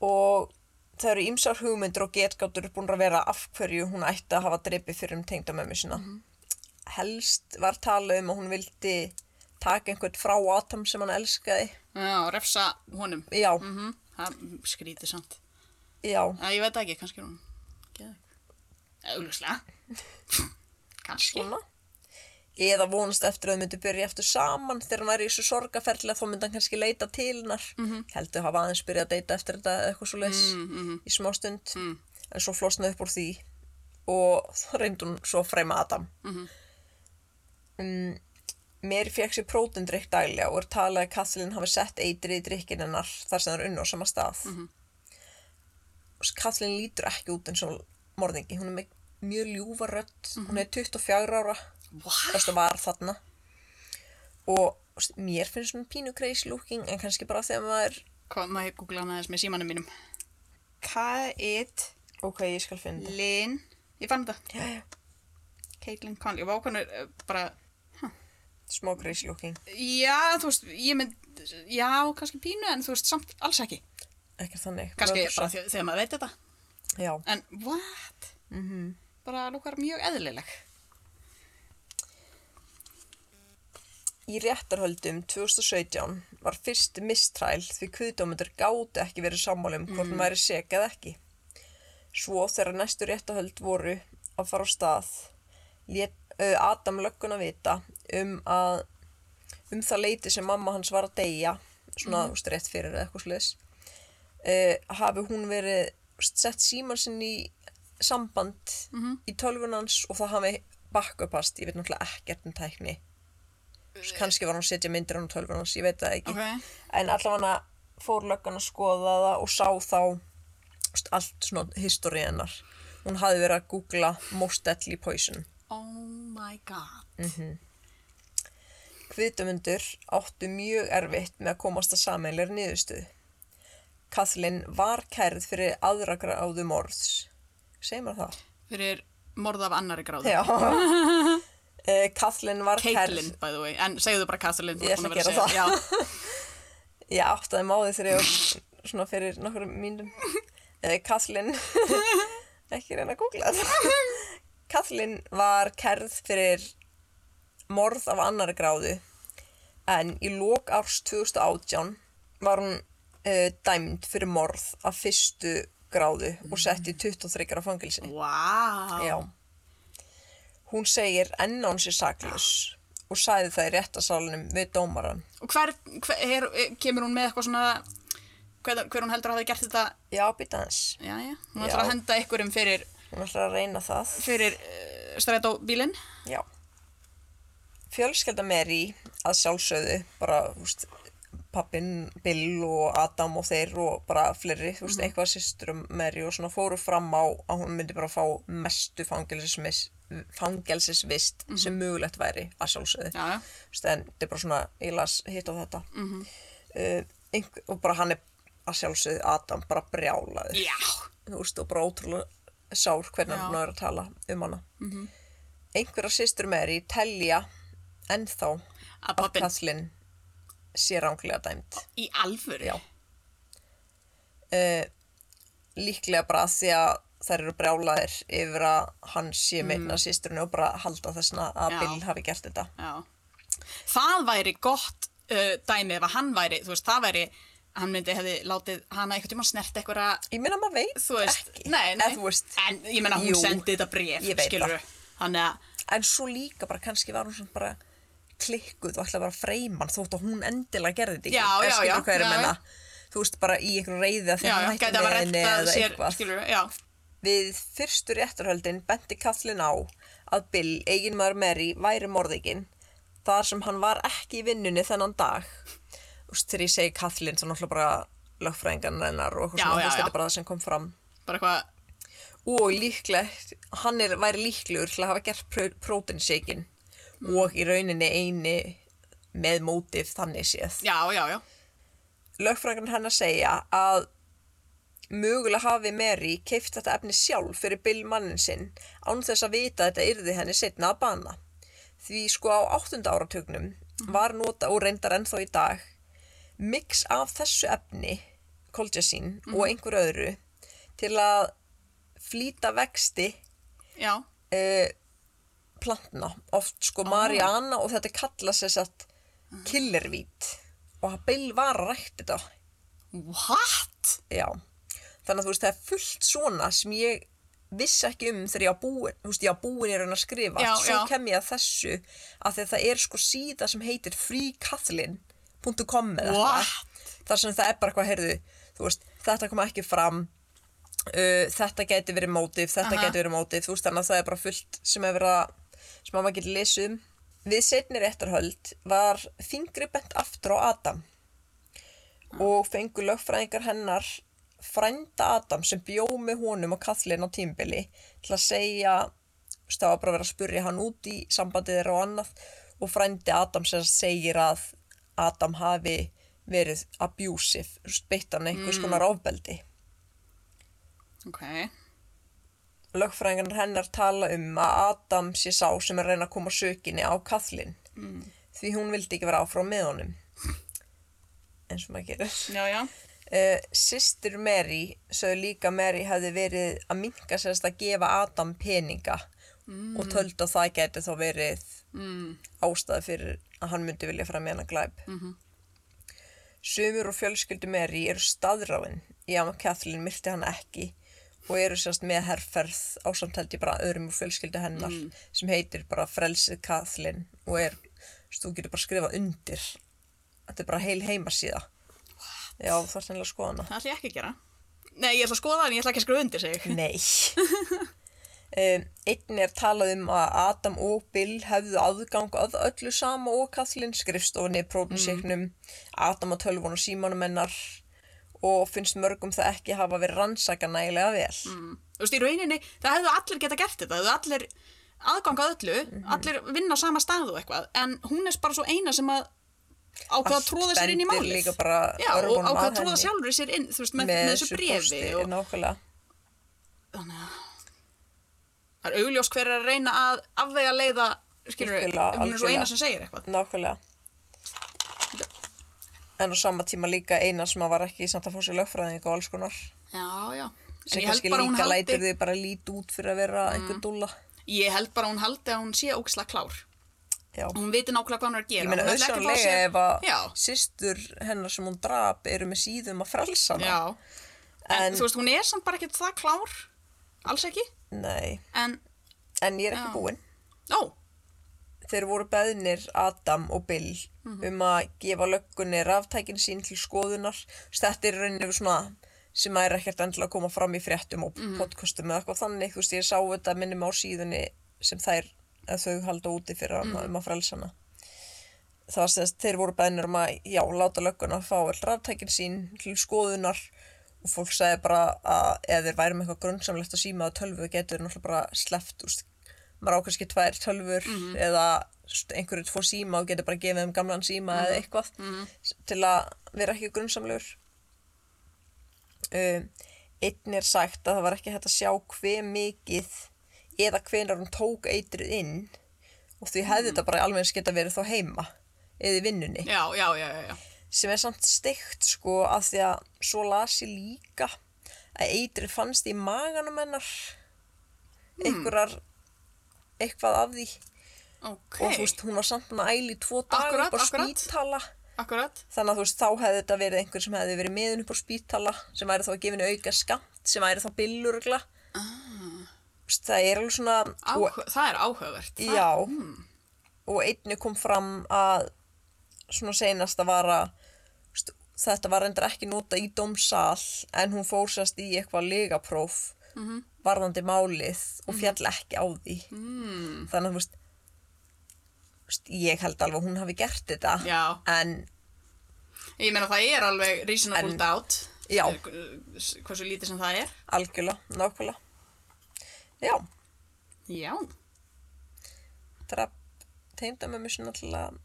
S2: og það eru ýmsar hugmyndir og getgátur búin að vera af hverju hún ætti að hafa dreipið fyrir um tengdamömmu sína
S1: Mhm.
S2: helst var talað um að hún vildi taka einhvern frá Adam sem hann elskaði
S1: Já, refsa honum.
S2: já,
S1: Mm Það skrítið samt.
S2: já,
S1: Já, ég veit það ekki, kannski er hún geðveik. Augljóslega. kannski.
S2: svona eða vonast eftir að þau myndu byrja eftir saman þegar hann væri í þessu sorgaferðlega þá myndi hann kannski leita til hennar heldur hafa aðeins byrjað að deyta eftir þetta eða eitthvað svo leys í smá stund en svo flosnaði upp úr því og þá reyndi hún svo að freyma Adam um, mér fekk sér prótindrykk daglega og er talað að Kathleen hafi sett eitri í drykkin hennar þar sem það er unn á sama stað Katlin lítur ekki út eins og morðingi, hún er með mjög ljúfa rödd, hún er 24 ára
S1: What?
S2: þess að var þarna og þú veist, mér finnst hún pínu crazy looking en kannski bara þegar maður
S1: Hvað, maður googla hana þess með símanum mínum. Kate
S2: ok, ég skal finna
S1: Lynn, ég fann þetta,
S2: þetta já, já,
S1: Caitlin Conley, og ákvæmur eh, bara,
S2: smá crazy looking
S1: já, þú veist, ég mynd, já, kannski pínu, en þú veist, samt alls ekki.
S2: ekki þannig
S1: Kannski
S2: Lögreglusamt.
S1: bara þegar, þegar maður veit þetta.
S2: já,
S1: En, what?
S2: Mhm.
S1: Bara lúkar mjög eðlileg.
S2: Í réttarhöldum 2017 var fyrst mistræl því kviðdómendur gáti ekki verið sammála um hvort mm. maður er seg eða ekki. Svo þegar næstu réttarhöld voru að fara á stað, lét uh, Adam lögguna vita um að um það leiti sem mamma hans var að deyja, svona mm. úst, rétt fyrir eða eitthvað sliðis, uh, hafi hún verið úst, sett síman sinn í samband í tölvunans og það hafi bakkupast, ég veit náttúrulega ekkert um tækni Svo kannski var hún að setja myndir hann á tölvun hans, ég veit það ekki
S1: Ok.
S2: en allavega fór löggan að skoða það og sá þá st, allt svona históri hennar hún hafði verið að googla most deadly poison
S1: Oh my god.
S2: kviðdöfundur áttu mjög erfitt með að komast að sameinleir niðurstöð Kathleen var kærð fyrir aðra gráðu morðs segir maður það?
S1: Fyrir morð af annari gráðu.
S2: Já Eh, Kathleen var kærð
S1: Caitlin, by the way, en segðu bara Caitlin. þú
S2: Ég
S1: ert
S2: ætla að
S1: búin
S2: gera
S1: vera segja-
S2: Ég áttaði máði þegar ég var svona fyrir nokkrum mínum. Eh, Kathleen, ekki reyna að googla þetta. Kathleen var kerð fyrir morð af annari gráðu en í lok árs 2018 var hún uh, dæmd fyrir morð af fyrstu gráðu og sett í 23 ára fangilsi.
S1: Já. Wow.
S2: Já. Hún segir enn á hún sér saklaus og sagði það í réttasalunum við dómaran.
S1: Og hver, hver er, kemur hún með eitthvað svona, hver, hver hún heldur að hafi gert þetta,
S2: Já, býta hans.
S1: já, já, hún
S2: Já.
S1: ætlar að henda einhverjum fyrir,
S2: Hún ætlar að reyna það.
S1: fyrir uh, strætóbílinn.
S2: Já. Fjölskelda Mary að sjálfsögðu, bara, þú veist, pappinn, Bill og Adam og þeir og bara fleiri, þú veist, eitthvað systur um Mary og svona fóru fram á að hún myndi bara fá mestu fangelsismis, fangelsisvist sem mögulegt væri að sjálfsögðu.
S1: Já, já.
S2: Þú veist, en þetta er bara svona, ég las hitt á þetta. Mm -hmm. og bara hann er að sjálfsögðu Adam bara brjálaður
S1: Já.
S2: þú veist, og bara ótrúlega sár hvernig
S1: Já. Mhm.
S2: hann er að tala um hana mm -hmm. einhverja sýstur með er í telja ennþá
S1: Að
S2: að
S1: pappin
S2: Kathleen sé ránglega dæmt
S1: í alvöru.
S2: Já. uh, líklega bara af því að þær eru brjálaðir yfir að hann sé meina sýsturinu og bara halda þessna að
S1: Mm. Já.
S2: Bill hafi gert þetta
S1: Já. Það væri gott uh, dæmi ef að hann væri, þú veist, það væri, hann myndi hefði látið hana einhvern tímann snert einhverja
S2: ég meina maður veit
S1: þú veist,
S2: ekki
S1: nei, nei.
S2: En, þú veist,
S1: en ég menna hún
S2: Jú,
S1: sendi þetta bref,
S2: ég veit
S1: skilur þannig að,
S2: en svo líka bara kannski var hún svona bara klikkuð og ætlaði bara að freyma hann þótt að hún endilega gerði þetta ekki. Eða
S1: Já, já,
S2: skilurðu
S1: já,
S2: hvað ég er að
S1: já,
S2: menna? þú veist bara í einhverju reyði að
S1: já,
S2: þegar
S1: já,
S2: hann
S1: gæti
S2: hætti
S1: að
S2: með
S1: vera
S2: henni
S1: rettað
S2: eða
S1: sér,
S2: eitthvað
S1: skilur já,
S2: við fyrstu réttarhöldin benti Kathleen á að Bill, eiginmaður Mary, væri morðikinn þar sem hann var ekki í vinnunni þennan dag þú veist þegar ég segi Kathleen þá náttúrulega bara lögfræðingan hennar og eitthvað
S1: Já,
S2: svona,
S1: já,
S2: þú veist,
S1: já.
S2: þetta er bara það sem kom fram
S1: bara eitthvað
S2: og líklegt, hann er, væri líklegur til að hafa gert pró- prótinshakein og í rauninni eini með mótif þannig séð.
S1: já, já, já,
S2: Lögfræðingarn hennar segja að mögulega hafi Mary keift þetta efni sjálf fyrir Bill mannin sinn án þess að vita að þetta yrði henni setna að bana. Því sko á áttunda áratugnum var nota og reyndar ennþá í dag mix af þessu efni, kolgjasín og einhver öðru til að flýta vexti
S1: já
S2: uh, plantna oft
S1: Ah.
S2: sko Mariana og þetta kalla sér satt killervít og Bill var að rækta þetta
S1: what?
S2: já, þannig að þú veist það er fullt svona sem ég vissi ekki um þegar ég á búin, þú veist ég á búin er að skrifa,
S1: Já,
S2: svo
S1: já.
S2: kem ég að þessu að því að það er sko síða sem heitir freekathlin.com eða
S1: What?
S2: þetta þar sem það er bara eitthvað, heyrðu, þú veist þetta kom ekki fram uh, þetta geti verið mótif, þetta
S1: Aha.
S2: Aha. geti verið mótif þú veist þannig að það er bara fullt sem er verið að sem að maður getur lesið um við setni réttarhöld var fingri bent aftur á Adam og fengu lögfræðingar hennar frænda Adam sem bjó með honum og kallin á tímbili til að segja þú veist, það var bara verið að spurja hann út í sambandið þeirra og annað og frændi Adam sem segir að Adam hafi verið abusive, þú veist, beitt hann einhvers konar ofbeldi
S1: ok,
S2: lögfræðingarnar hennar tala um að Adam sé sá sem er að reyna að koma sökinni á kallin mm. því hún vildi ekki vera áfram með honum eins og maður gerir
S1: já, já,
S2: uh, Sistir Mary sögðu líka að Mary hefði verið að minka sérst að gefa Adam peninga og töldu að það geti þá verið
S1: mm,
S2: ástæði fyrir að hann myndi vilja fara með hana glæp
S1: Mhm.
S2: Sumur og fjölskyldu Mary eru staðráin í að Kathleen myrti hann ekki og eru sérst með herrferð á samtældi bara öðrum úr fjölskyldu hennar sem heitir bara Frelsið Kathleen og er, þú getur bara skrifað undir þetta er bara heil heimasíða já þú þarf þannig að skoða hana
S1: það ætla ég ekki að gera nei, ég ætla að skoða en ég ætla ekki að skrifa undir sig
S2: Nei. um, einn er talað um að Adam og Bill hefðu aðgang að öllu sama og Kathleen skrifstofunni,
S1: Mm.
S2: prófnusíknum, Adam og tölvun og símanum hennar og finnst mörgum það ekki hafa verið rannsaka nægilega vel.
S1: Mm. Þú veist, í rauninni, það hefðu allir geta gert þetta, það hefðu allir aðgang að öllu,
S2: Mhm.
S1: allir vinna á sama stað og eitthvað, en hún er bara svo eina sem að ákveða að
S2: Allt
S1: tróða sér inn í
S2: bendir
S1: málið.
S2: líka bara
S1: Já, og
S2: örvunum
S1: ákveða
S2: að
S1: að tróða
S2: henni.
S1: sjálfur sér inn, þú veist, með, með þessu brefi.
S2: pósti,
S1: Og,
S2: Nákvæmlega.
S1: þannig að það er augljós hver er að reyna að afvega leiða, skilur við,
S2: Algjörlega,
S1: hún er svo
S2: algjörlega.
S1: eina sem segir eitthvað.
S2: Nákvæmlega. En á sama tíma líka eina sem að var ekki samt að fá sér lögfræðing og alls konar.
S1: Já, já. En
S2: Sem
S1: ég held
S2: kannski
S1: bara hún
S2: líka lætur
S1: haldi, Mm.
S2: þið bara lít út fyrir að vera einhver dúlla.
S1: ég held bara hún haldi að hún sé ógislega klár.
S2: Já.
S1: Hún viti nákvæmlega hvað hún er að gera.
S2: Ég meina
S1: Mm. Hún ætli ekki að fá
S2: auðsjálega
S1: sér-
S2: ef að
S1: Já.
S2: sýstur hennar sem hún drap eru með síðum að frelsa hana.
S1: Já, en,
S2: En-
S1: þú veist, hún er samt bara ekkert það klár, alls ekki,
S2: Nei,
S1: en,
S2: en ég er ekki
S1: Já.
S2: búinn.
S1: ó,
S2: Þeir voru beðnir Adam og Bill
S1: Mhm.
S2: um að gefa löggunni ráftækin sín til skoðunar. Þess, Þetta er í rauninni svona sem að er ekkert endilega að koma fram í fréttum og
S1: Mhm.
S2: podcastum eða eitthvað þannig. Þú veist, ég sá þetta minnum á síðunni sem þær að þau halda úti fyrir hana
S1: Mhm.
S2: um að frelsa hana. það var sem sagt, þeir voru beðnir um að já, láta lögguna fá all ráttækin sín til skoðunar og fólk sagði bara að ef þeir væri með eitthvað grunnsamlegt að síma að tölvu getur þeir náttúrulega bara sleppt úst, maður á kannski tvær tölvur eða st- einhverju tvo síma og getur bara gefið þeim gamlan síma eða eitthvað s- til að vera ekki grunnsamlegur um, einn er sagt að það var ekki hægt að sjá hve mikið eða hvenar hún tók eitrið inn og því hefði þetta bara alveg eins geta verið þá heima eða í vinnunni
S1: já, já, já, já, já,
S2: sem er samt steikt sko að því að svo las ég líka að eitrið fannst í maganum hennar einhverjar eitthvað af því
S1: ok,
S2: og þú veist hún var samt með æli tvo daga
S1: Akkúrat,
S2: upp á
S1: akkúrat.
S2: spítala
S1: akkurat,
S2: þannig að þú veist þá hefði þetta verið einhver sem hefði verið meðun upp á spítala sem væri þá að gefa henni auka skamt sem væri þá billurugla ah. það er alveg svona og-
S1: Áhug, það er áhugavert, það,
S2: Já, og einni kom fram að svona seinast að vara þetta var endur ekki nota í domsal en hún fórsast í eitthvað legapróf varðandi málið og fjall ekki á því mm. þannig að þú veist, þú veist, ég held alveg að hún hafi gert þetta
S1: Já.
S2: en
S1: ég meina það er alveg reasonable
S2: En-
S1: doubt,
S2: Já.
S1: eh, hversu lítið sem það er,
S2: algjörlega, nákvæmlega já,
S1: já,
S2: draf tegnda með mér svona til að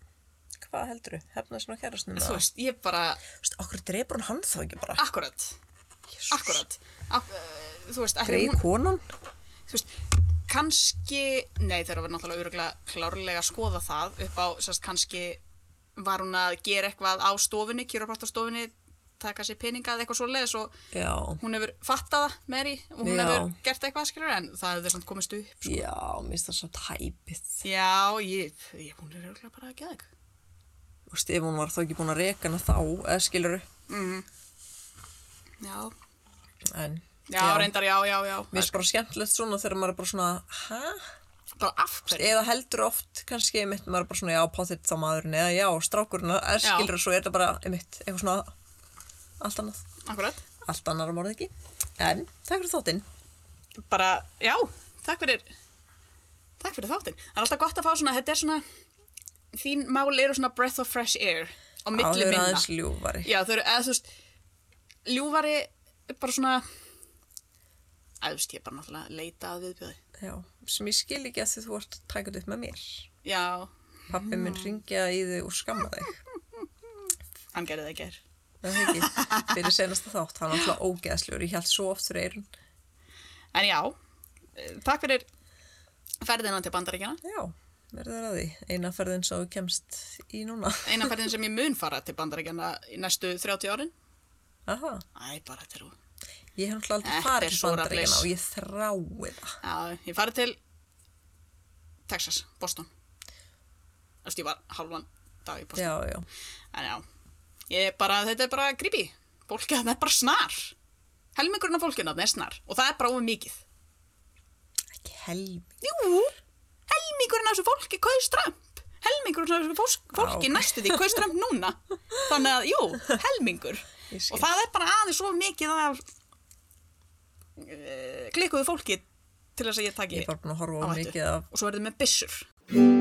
S2: hvað heldur, hefna svona kærastunum
S1: þú
S2: eða?
S1: veist, ég bara,
S2: Þú veist, okkur drefur hann hann þá ekki bara
S1: akkurat, akkurat, Ak, uh, þú veist, ætli
S2: Greið
S1: hún,
S2: konan?
S1: þú veist, kannski, nei þeir eru náttúrulega öruglega klárlega að skoða það upp á, sérst, kannski var hún að gera eitthvað á stofunni, kjörapráttastofunni, taka sér peninga eða eitthvað svoleiðis og
S2: Já.
S1: hún hefur fattað það, Mary, og hún
S2: Já.
S1: hefur gert eitthvað, skilur, en það hefur samt komist upp.
S2: Já, mér finnst það svo tæpið.
S1: Já, ég, ég, hún er öruglega bara að geða eitthvað.
S2: Þú veist, ef hún var þá ekki búin að reka hana þá, eða skilur
S1: Já,
S2: En,
S1: já, reyndar, já, já, já.
S2: Mér finnst bara skemmtilegt svona þegar maður er bara svona, hæ?
S1: Bara af hverju?
S2: Eða heldur oft, kannski, einmitt, maður er bara svona, já, pátitt þá maðurinn, eða já, strákurinn, eða
S1: Já.
S2: skilur, svo er þetta bara, einmitt, eitthvað svona, allt annað.
S1: Akkurat.
S2: Allt annar um orðið ekki. En, takk fyrir þáttinn.
S1: Bara, já, takk fyrir, takk fyrir þáttinn. Það er alltaf gott að fá svona, þetta er svona, þín mál eru svona breath of fresh air á milli
S2: Áður
S1: minna.
S2: aðeins ljúfari.
S1: Já, þau eru, eða þú veist, ljúfari bara svona æðust ég bara náttúrulega leita að viðbjöði
S2: Já, sem ég skil ekki að því þú ert tækjað upp með mér.
S1: já,
S2: Pappi minn ringja í þig og skamma þig.
S1: hann gerði það í gær
S2: Það er ekki fyrir senasta þátt, hann er alltaf ógeðslegur, ég held svo oft fyrir eirun.
S1: en já, eh, takk fyrir ferðina til bandaríkjana
S2: Já, verður að því. Eina ferðin svo þú kemst í núna.
S1: eina ferðin sem ég mun fara til bandaríkjana í næstu 30 árin
S2: Aha,
S1: æ, bara þetta er úr
S2: ég hef náttúrulega
S1: Þetta
S2: aldrei farið
S1: er
S2: til
S1: svo
S2: bandaríkjana
S1: rafleys.
S2: og ég þrái það.
S1: Já, ég farið til Texas, Boston Eftir ég var halvan dag í Boston
S2: Já, já.
S1: En já, ég bara, þetta er bara creepy Fólki það er bara snar Helmingurinn af fólkinu það er snar Og það er bara ofur mikið
S2: Ekki helming.
S1: Jú, helmingurinn af þessu fólki kaus Trump Helmingurinn af þessu fólk- fólki
S2: Já.
S1: næstu því kaus Trump núna Þannig að, jú, helmingur
S2: Ég skil.
S1: Og það er bara aðeins svo mikið af uh, klikkuðu fólki til þess að ég taki
S2: Ég er bara búin að horfa á
S1: áhættu.
S2: mikið af
S1: Og svo er þið með byssur